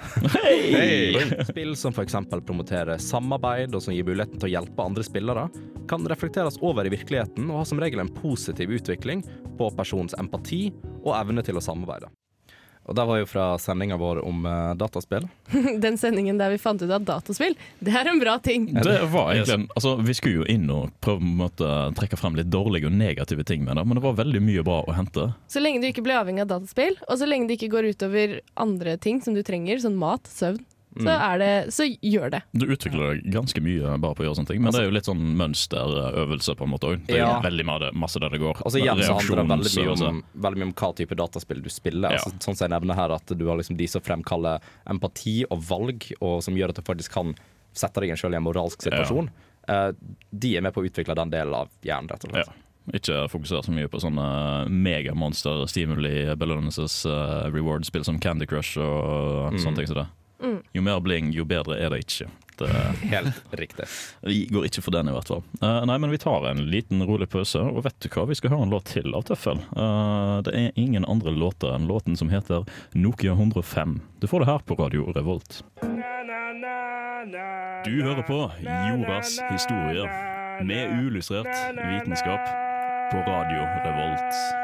D: Spill som f.eks. promoterer samarbeid og som gir muligheten til å hjelpe andre spillere, kan reflekteres over i virkeligheten og har som regel en positiv utvikling på persons empati og evne til å samarbeide. Og Det var jo fra sendinga vår om eh, dataspill.
C: Den sendingen der vi fant ut at dataspill, det er en bra ting.
B: Det var egentlig en, altså, Vi skulle jo inn og prøve å på en måte trekke frem litt dårlige og negative ting med det, men det var veldig mye bra å hente.
C: Så lenge du ikke blir avhengig av dataspill, og så lenge det ikke går utover andre ting som du trenger, sånn mat, søvn, så,
B: Mm.
C: er det, så gjør det.
B: Du utvikler deg ganske mye bare på å gjøre sånne ting, men det er jo litt sånn mønsterøvelse på en måte òg. Det er jo
D: Ja.
B: veldig mye, masse der det går.
D: Og så Altså, igjen så handler det veldig mye,
B: Reaksjonsøvelse.
D: om, veldig mye om hva type dataspill du spiller.
B: Ja.
D: Altså, sånn som jeg nevner her, at du har liksom de som fremkaller empati og valg, og som gjør at du faktisk kan sette deg selv i en moralsk situasjon. Eh, de er med på å utvikle den delen av hjernen, rett og slett.
B: altså, Ja. Ikke fokusere så mye på sånne eh, megamonster-stimuli-belønnelses-reward-spill eh, som Candy Crush og
D: Mm.
B: sånne ting som det. Jo mer bling, jo bedre er det ikke. Det, [laughs]
D: Helt riktig.
B: vi går ikke for den, i hvert fall. Eh, nei, men vi tar en liten rolig pause, og vet du hva? Vi skal høre en låt til av Tøffel. Eh, det er ingen andre låter enn låten som heter Nokia 105. Du får det her på Radio Revolt. Du hører på Jordas historier med uillustrert vitenskap på Radio Revolt.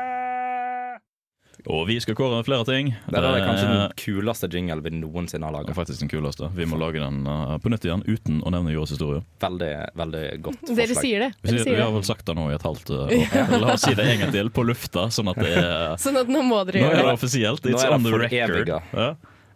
B: Og vi skal kåre flere ting.
D: Der er det kanskje
B: Eh,
D: den kuleste jingle vi noensinne har
B: det er
D: laga.
B: faktisk den kuleste. Vi må lage den eh, på nytt igjen uten å nevne jordas historie.
D: Veldig, veldig godt forslag.
C: Dere sier det.
B: Vi, sier, vi
C: Dere sier
B: har
C: det.
B: vel sagt det nå i et halvt eh, år. La oss si det en gang til på lufta, sånn at det er
C: Sånn at nå må dere
B: Nå er det
C: gjøre det.
B: offisielt.
D: Nå
B: It's
D: er det
B: on the
D: for
B: record.
D: eviga.
B: Ja.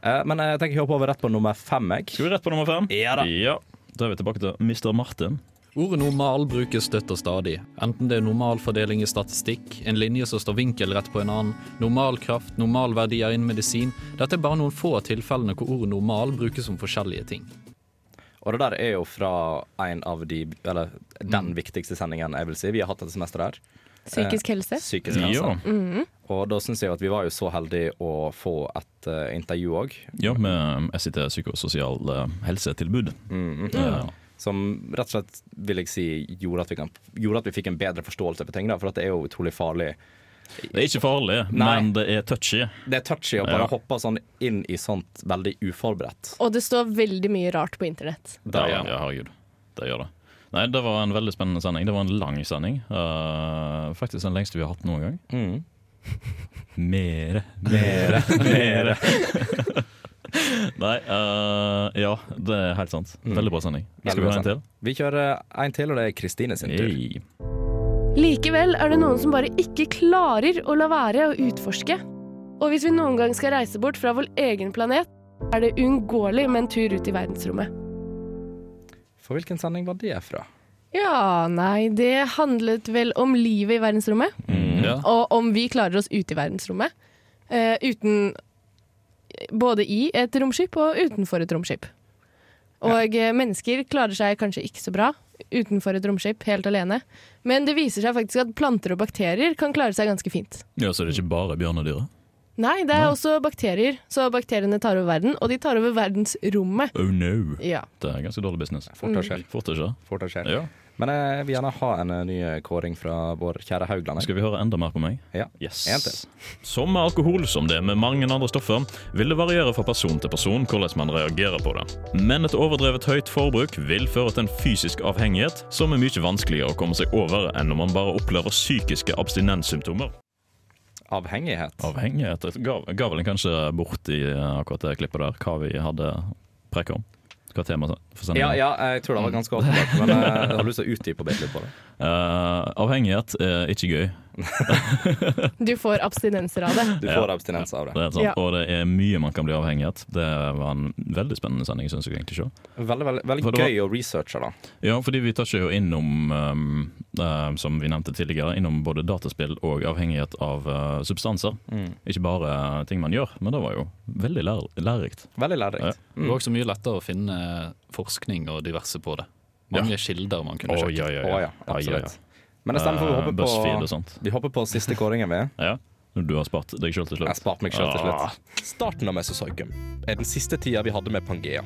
D: Eh, men jeg tenker jeg hopper over rett på nummer fem.
B: Skal
D: Jeg.
B: vi rett på nummer fem?
D: Ja da.
B: Da er vi tilbake til Mr. Martin.
A: Ordet normal brukes støtt og stadig, enten det er normal fordeling i statistikk, en linje som står vinkelrett på en annen, normal kraft, normal verdier innen medisin. Dette er bare noen få av tilfellene hvor ordet normal brukes om forskjellige ting.
D: Og det der er jo fra en av de Eller den
B: Mm.
D: viktigste sendingen jeg vil si vi har hatt dette semesteret her.
C: Psykisk helse.
D: Psykisk helse.
B: Ja.
D: Og da syns jeg jo at vi var jo så heldige å få et eh, intervju òg,
B: ja, med SIT psykososial eh, helsetilbud.
D: Mm-hmm.
B: Ja.
D: som rett og slett vil jeg si gjorde at vi, kan, gjorde at vi fikk en bedre forståelse for ting. Da, for at det er jo utrolig farlig.
B: Det er ikke farlig,
D: Nei.
B: men det er touchy.
D: Det er touchy å bare hoppe sånn inn i sånt veldig uforberedt.
C: Og det står veldig mye rart på internett.
B: Ja,
D: Der, ja.
B: ja, herregud. Det gjør det. Nei, det var en veldig spennende sending. Det var en lang sending. Eh, faktisk den lengste vi har hatt noen gang.
D: Mm.
B: Mere, mere, [laughs] mere. Nei, eh, ja, det er helt sant. Mm. Veldig bra sending. Skal vi ha en til?
D: Vi kjører en til, og det er Kristine sin tur.
B: Hey.
G: Likevel er det noen som bare ikke klarer å la være å utforske. Og hvis vi noen gang skal reise bort fra vår egen planet, er det uunngåelig med en tur ut i verdensrommet.
D: For hvilken sending var det fra?
C: Ja, nei, det handlet vel om livet i verdensrommet.
B: Ja.
C: Og om vi klarer oss ute i verdensrommet eh, uten Både i et romskip og utenfor et romskip. Og eh, mennesker klarer seg kanskje ikke så bra utenfor et romskip helt alene. Men det viser seg faktisk at planter og bakterier kan klare seg ganske fint.
B: ja, Så det er ikke bare bjørnedyret?
C: Nei, det er også bakterier, så bakteriene tar over verden, og de tar over verdensrommet.
B: Oh no!
C: Ja.
B: Det er ganske dårlig business.
D: Fort og skjell.
B: Fort ikke?
D: Fort og skjell.
B: Ja.
D: Men jeg vil gjerne ha en eh, ny kåring fra vår kjære Haugland. jeg.
B: Skal vi høre enda mer på meg?
D: Ja.
B: Yes.
D: En til.
B: Som med alkohol, som det er med mange andre stoffer, vil det variere fra person til person hvordan man reagerer på det. Men et overdrevet høyt forbruk vil føre til en fysisk avhengighet som er mye vanskeligere å komme seg over enn når man bare opplever psykiske abstinenssymptomer.
D: Avhengighet.
B: Avhengighet det ga, ga vel en kanskje bort i eh, akkurat det klippet der, hva vi hadde preka om. Hva temaet for sendingen
D: Ja, ja, jeg tror det var ganske åpenbart, men eh, jeg har lyst til å utdype bitte litt på det.
B: Eh, avhengighet er ikke gøy.
C: Du får abstinenser av det.
D: Du får abstinens av
B: Det
D: det.
B: er sant.
C: Ja.
B: Og det er mye man kan bli avhengig av. Det var en veldig spennende sending, syns jeg. egentlig selv.
D: Veldig, veldig,
B: For
D: veldig
B: det var-
D: gøy å researche, da.
B: Ja, fordi vi tar ikke jo innom, um, eh, som vi nevnte tidligere, innom både dataspill og avhengighet av eh, substanser. Ikke bare ting man gjør, men det var jo veldig lær lærerikt.
D: Veldig
B: Ja.
D: lærerikt.
A: Det var også mye lettere å finne forskning og diverse på det. Mange kilder man kunne sjekke.
B: ja,
D: Å ja, absolutt. Men det stemmer, for vi
B: Eh, BuzzFeed og
D: hopper på,
B: sånt.
D: vi hopper på siste kåringen, vi.
B: [laughs] Ja. Du har spart deg sjøl til
D: Jeg
B: slutt.
D: sparte meg sjøl til
B: Ah.
D: slutt.
E: Starten av Mesozoikum er den siste tida vi hadde med Pangea.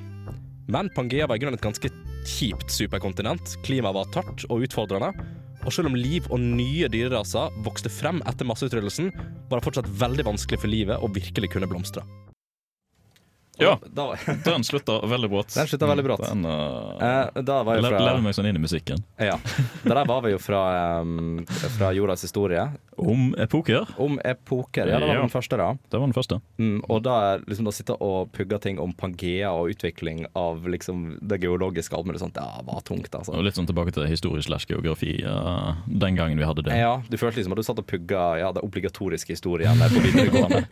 E: Men Pangea var i grunnen et ganske kjipt superkontinent. Klimaet var tørt og utfordrende. Og selv om liv og nye dyreraser vokste frem etter masseutryddelsen, var det fortsatt veldig vanskelig for livet å virkelig kunne blomstre.
B: Ja,
D: Da,
E: [laughs]
B: den slutter veldig brått.
D: Den slutter veldig brått.
B: Den, eh,
D: eh, da var
B: jeg
D: jo
B: lever
D: fra
B: meg sånn inn i musikken.
D: Ja. Det der var vi jo fra, em, fra jordas historie.
B: Om epoker.
D: Om epoker. Ja, det var
B: Ja.
D: den første, da.
B: Det var den første.
D: Mm, og da er liksom da sitte og pugge ting om Pangea og utvikling av liksom det geologiske og alt mulig sånt, det var tungt, altså.
B: Og litt sånn tilbake til historie slash geografi. eh, den gangen vi hadde det. [laughs]
D: Ja, du følte liksom at du satt og pugga ja, det obligatoriske historien på videregående.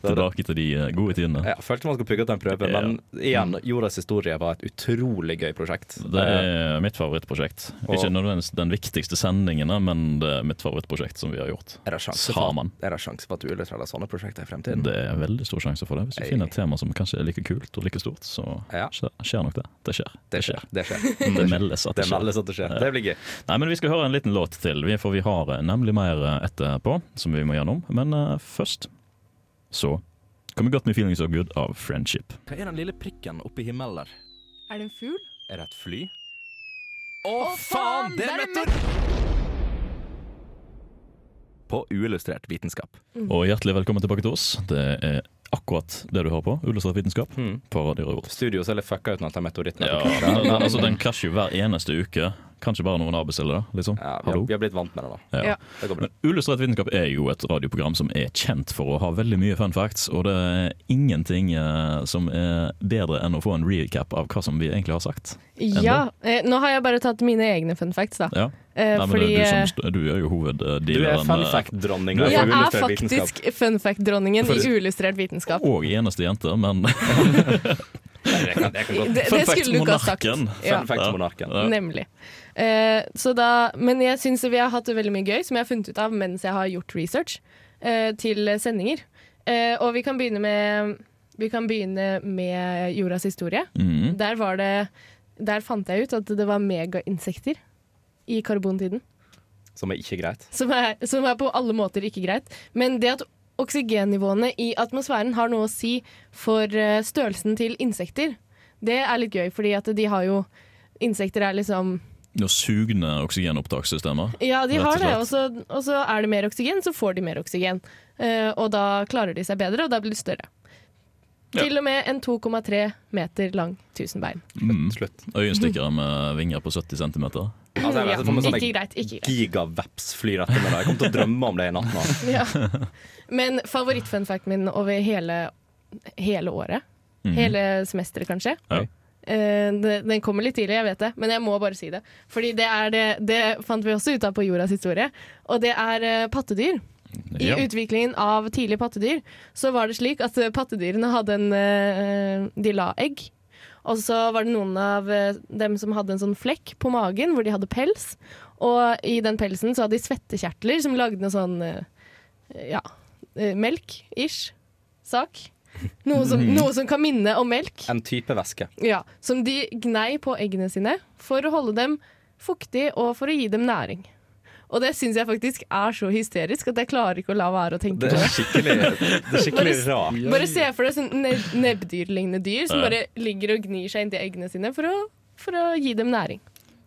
B: Tilbake til de eh, gode tidene.
D: Jeg følte man skulle pugge til en prøve,
B: Ja. Mm.
D: men igjen, jordas historie var et utrolig gøy prosjekt. Eh,
B: Det er mitt favorittprosjekt. Ikke nødvendigvis den viktigste sendingen, da, men det er mitt favorittprosjekt som vi har gjort.
D: Er det sjanse for,
B: Sammen.
D: er det sjanse for at du vil trelle sånne prosjekter i fremtiden?
B: Det er veldig stor sjanse for det. Hvis du
D: Ei.
B: finner et tema som kanskje er like kult og like stort, så
D: Ja.
B: skjer, skjer nok det. Det skjer. Mm.
D: Det skjer. Det skjer.
B: Det meldes at
D: Det
B: det skjer.
D: meldes at det skjer. Det blir gøy.
B: Nei, men Vi skal høre en liten låt til, vi- for vi har eh, nemlig mer eh, etterpå som vi må gjennom. Men eh, først så kommer Got Me Feeling So Good av Friendship.
D: Hva er den lille prikken oppe i himmelen der?
G: Er det en fugl?
D: Er det et fly?
G: Å, faen! Det er meteor!
D: På uillustrert vitenskap.
B: Og hjertelig velkommen tilbake til oss. Det er akkurat det du hører på. Ullestad vitenskap
D: Mm.
B: på Radio Revolt.
D: Studio ser litt fucka ut når han tar meteoritten.
B: Ja,
D: etter hvert.
B: men, altså, den krasjer jo hver eneste uke. Kanskje bare noen avbestiller det, liksom.
D: Ja, vi, har,
B: Hallo?
D: vi har blitt vant med det nå.
B: Ja.
D: Det går bra.
B: Men Uillustrert vitenskap er jo et radioprogram som er kjent for å ha veldig mye fun facts, og det er ingenting eh, som er bedre enn å få en recap av hva som vi egentlig har sagt.
C: Ja, eh, nå har jeg bare tatt mine egne fun facts, da.
B: Ja.
C: Eh,
B: Nei, men
C: fordi
B: det er du,
C: eh,
B: som, st- du er jo
D: Du
B: hoveddealeren.
D: er fun
B: eh,
D: fact-dronning.
B: du er
D: for
C: jeg er
D: uillustrert
C: [laughs] faktisk fun fact-dronningen i uillustrert vitenskap.
B: eh, Og eneste jente, men [laughs]
D: vitenskap. Jeg kan, jeg kan godt.
C: Det,
B: Fun
C: det
B: fact
C: skulle du ikke ha sagt.
B: monarken.
C: Ja.
D: Fun fact-monarken.
B: Ja.
C: Nemlig. Eh, så da, men jeg syns vi har hatt det veldig mye gøy, som jeg har funnet ut av mens jeg har gjort research eh, til sendinger. Eh, og vi kan begynne med Vi kan begynne med jordas historie.
B: Mhm.
C: Der var det Der fant jeg ut at det var megainsekter i karbontiden.
D: Som er ikke greit.
C: Som er, som er på alle måter ikke greit. Men det at oksygennivåene i atmosfæren har noe å si for eh, størrelsen til insekter, det er litt gøy, fordi at de har jo Insekter er liksom
B: Nå sugne oksygenopptakssystemer.
C: Ja, de
B: Rett og
C: har det,
B: slett.
C: og så, og så er det mer oksygen, så får de mer oksygen. Eh, og da klarer de seg bedre, og da blir de større.
B: Ja.
C: Til og med en 2,3 meter lang tusenbein.
B: Mm.
D: Slutt.
B: Øyenstikkere med vinger på 70 cm.
D: Altså, jeg
C: Ja,
D: vet, for meg sånn
C: ikke
D: jeg-
C: greit, ikke greit.
D: Gigaveps flyr etter meg. da. Jeg kommer til å drømme om det i natt nå.
C: [laughs] Ja. Men favorittfunfacten min over hele, hele året, hele semesteret kanskje
B: Ja.
C: Eh, det- Den kommer litt tidlig, jeg vet det, men jeg må bare si det. Fordi det, er det, det fant vi også ut av på jordas historie, og det er eh, pattedyr. I
B: Ja.
C: utviklingen av tidlige pattedyr så var det slik at eh, pattedyrene hadde en eh, De la egg. Og så var det noen av eh, dem som hadde en sånn flekk på magen hvor de hadde pels. Og i den pelsen så hadde de svettekjertler som lagde noe sånn eh, ja, eh, melk-ish sak. Noe som, noe som kan minne om melk.
D: En type væske.
C: Ja, som de gnei på eggene sine for å holde dem fuktige og for å gi dem næring. Og det syns jeg faktisk er så hysterisk at jeg klarer ikke å la være å tenke [laughs] på
D: Det
B: [laughs]
D: er
C: det.
D: skikkelig, det er skikkelig rart.
C: Bare se for deg sånn neb nebbdyrlignende dyr som bare ligger og gnir seg inntil eggene sine for å, for å gi dem næring.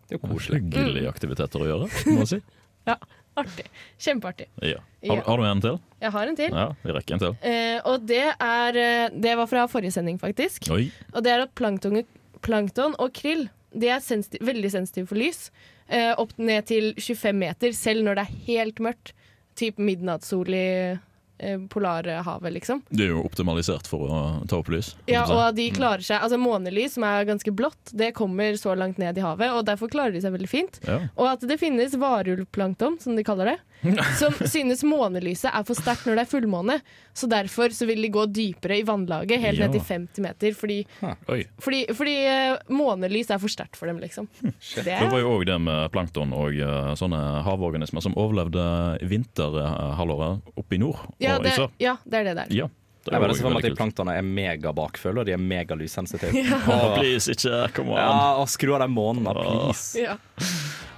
D: Det er jo koselig.
C: Mm.
B: Hyggelige aktiviteter å gjøre, må
C: [laughs]
B: jeg si.
C: Ja, artig. Kjempeartig.
B: Ja. Har, har du en til?
C: Jeg har en til.
B: Ja, vi rekker en til.
C: Eh, og det er eh, Det var fra forrige sending, faktisk.
B: Oi.
C: Og det er at plankton, plankton og krill De er sensitiv, veldig sensitive for lys. Eh, opp ned til 25 meter, selv når det er helt mørkt. Typ midnattssol i eh, polarhavet, liksom.
B: Det er jo optimalisert for å ta opp Mm. lys.
C: Ja, og de klarer seg Altså Månelys, som er ganske blått, det kommer så langt ned i havet, og derfor klarer de seg veldig fint.
B: Ja.
C: Og at det finnes varulvplankton, som de kaller det,
B: [laughs]
C: som synes månelyset er for sterkt når det er fullmåne. Så derfor så vil de gå dypere i vannlaget, helt
B: Ja.
C: ned til 50 meter, fordi
A: Oi.
C: fordi, fordi eh, månelys er for sterkt for dem, liksom. Det
B: Hm, Det
C: er,
B: var jo òg det med plankton og eh, sånne havorganismer som overlevde vinterhalvåret oppe i nord
C: ja,
B: og
C: det,
B: i sør.
C: ja, det er det der.
B: Ja, det
D: Jeg
B: var
D: bare
B: jo
D: ser for meg
B: veldig
D: at de
B: kult.
D: planktene er megabakfulle, og de er
C: [laughs]
D: megalyssensitive.
B: Å, [laughs] please, ikke kom an.
D: Ja, og skru av de månene, please.
C: Ja.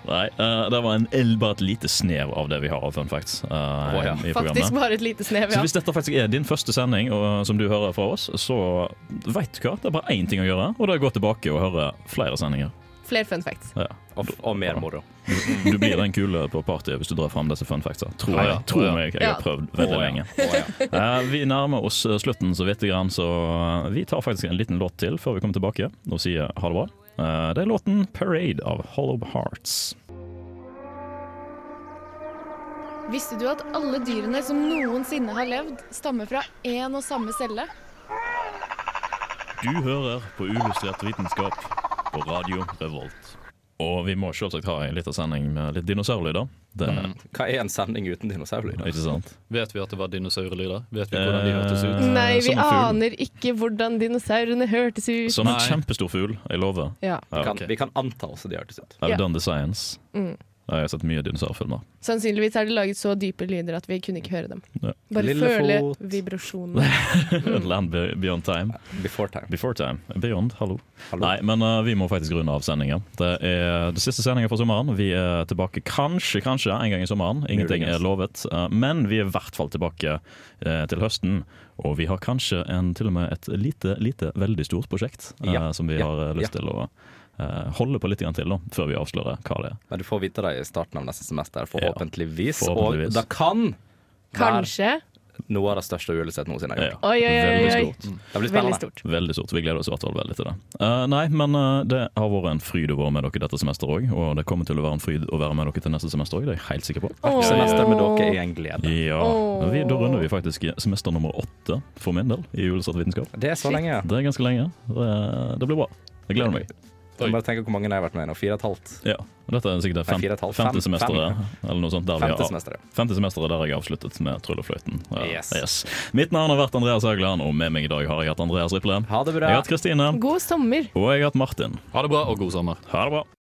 B: Nei, eh, det var en, el- bare et lite snev av det vi har av fun facts eh,
D: ja.
B: i programmet.
C: Faktisk bare et lite snev,
B: Så
C: ja.
B: hvis dette faktisk er din første sending og, som du hører fra oss, så veit du hva, det er bare én ting å gjøre, og det er å gå tilbake og høre flere sendinger.
C: Flere fun facts.
B: Ja.
D: Og, f- og mer moro.
B: Du blir den kule på partyet hvis du drar fram disse fun factsa. Tror
A: Ja,
B: jeg.
A: ja.
B: Tror
A: Ja.
B: meg, jeg har
C: Ja.
B: prøvd veldig lenge. Eh, Vi nærmer oss eh, slutten så vidt, grann, så eh, vi tar faktisk en liten låt til før vi kommer tilbake og sier ha det bra. Eh, Det er låten 'Parade' av Hollow Hearts.
G: Visste du at alle dyrene som noensinne har levd, stammer fra én og samme celle?
B: Du hører på Uillustrert vitenskap på Radio Revolt. Og vi må selvsagt ha en liten sending med litt dinosaurlyder. Det,
D: Hva er en sending uten
C: Mm.
D: dinosaurlyder?
B: Ikke sant?
A: Vet vi at det var dinosaurlyder? Vet vi hvordan de hørtes ut?
B: Eh,
C: Nei, vi
B: som en fugl.
C: aner ikke hvordan dinosaurene hørtes ut.
B: Som en
A: Nei.
B: kjempestor fugl, jeg lover.
C: Ja,
B: Ja,
D: Kan,
B: ok.
D: Vi kan anta oss at de hørtes ut.
B: I've
C: Ja.
B: done the science.
C: Mm.
B: Jeg har sett mye dinosaurfilmer. [laughs]
C: Sannsynligvis har de laget så dype lyder at vi kunne ikke høre dem.
B: Ja.
C: Bare
D: Lillefot.
C: føle
B: [laughs]
C: vibrasjonene.
B: Land be- beyond time.
D: Before time.
B: Before time. Beyond, hallo.
D: Hallo.
B: Nei, men eh, vi må faktisk runde av sendingen. Det er det siste sendingen for sommeren. Vi er tilbake kanskje, kanskje en gang i sommeren. Ingenting
D: Muligens.
B: er lovet. eh, men vi er i hvert fall tilbake eh, til høsten. Og vi har kanskje en, til og med et lite, lite, veldig stort prosjekt eh,
D: Ja,
B: som vi
D: ja,
B: har eh, lyst til å eh, holde på litt grann til, da, før vi avslører hva det er.
D: Men du får vite det i starten av neste semester, forhåpentligvis.
B: forhåpentligvis.
D: Og det kan være
C: Kanskje.
D: noe av det største uansett noensinne. har
B: Ja,
D: gjort.
C: Oi, oi, oi,
B: veldig
C: oi,
B: stort.
C: oi.
D: Det blir
C: Veldig
D: spennende.
C: stort.
B: Veldig stort. Vi gleder oss i hvert fall veldig til det. Eh, nei, men eh, det har vært en fryd å være med dere dette semesteret òg, og det kommer til å være en fryd å være med dere til neste semester òg, det er jeg helt sikker på.
C: Åh.
D: Semester med dere er en glede.
B: Ja,
C: Åh.
B: vi, Da runder vi faktisk semester nummer åtte for min del i julesatt vitenskap.
D: Det er så lenge.
B: Det er ganske lenge. Det, det blir bra. Jeg gleder meg.
D: Jeg bare tenker hvor mange jeg har vært med nå. Fire og et halvt.
B: Ja, og Dette er sikkert det
D: Nei,
B: fem,
D: fire og et halvt. Fem.
B: femte semesteret eller noe sånt der vi
D: Femte
B: har
D: semester.
B: Femte semesteret der jeg har avsluttet med Trull og fløyten. Ja,
D: Yes.
B: Mitt navn har vært Andreas Haugland, og med meg i dag har jeg hatt Andreas Riple.
D: Ha det
B: Jeg
D: bra.
B: har hatt Kristine,
C: God sommer.
B: og jeg har hatt Martin.
A: Ha det bra, og god sommer.
B: Ha det bra.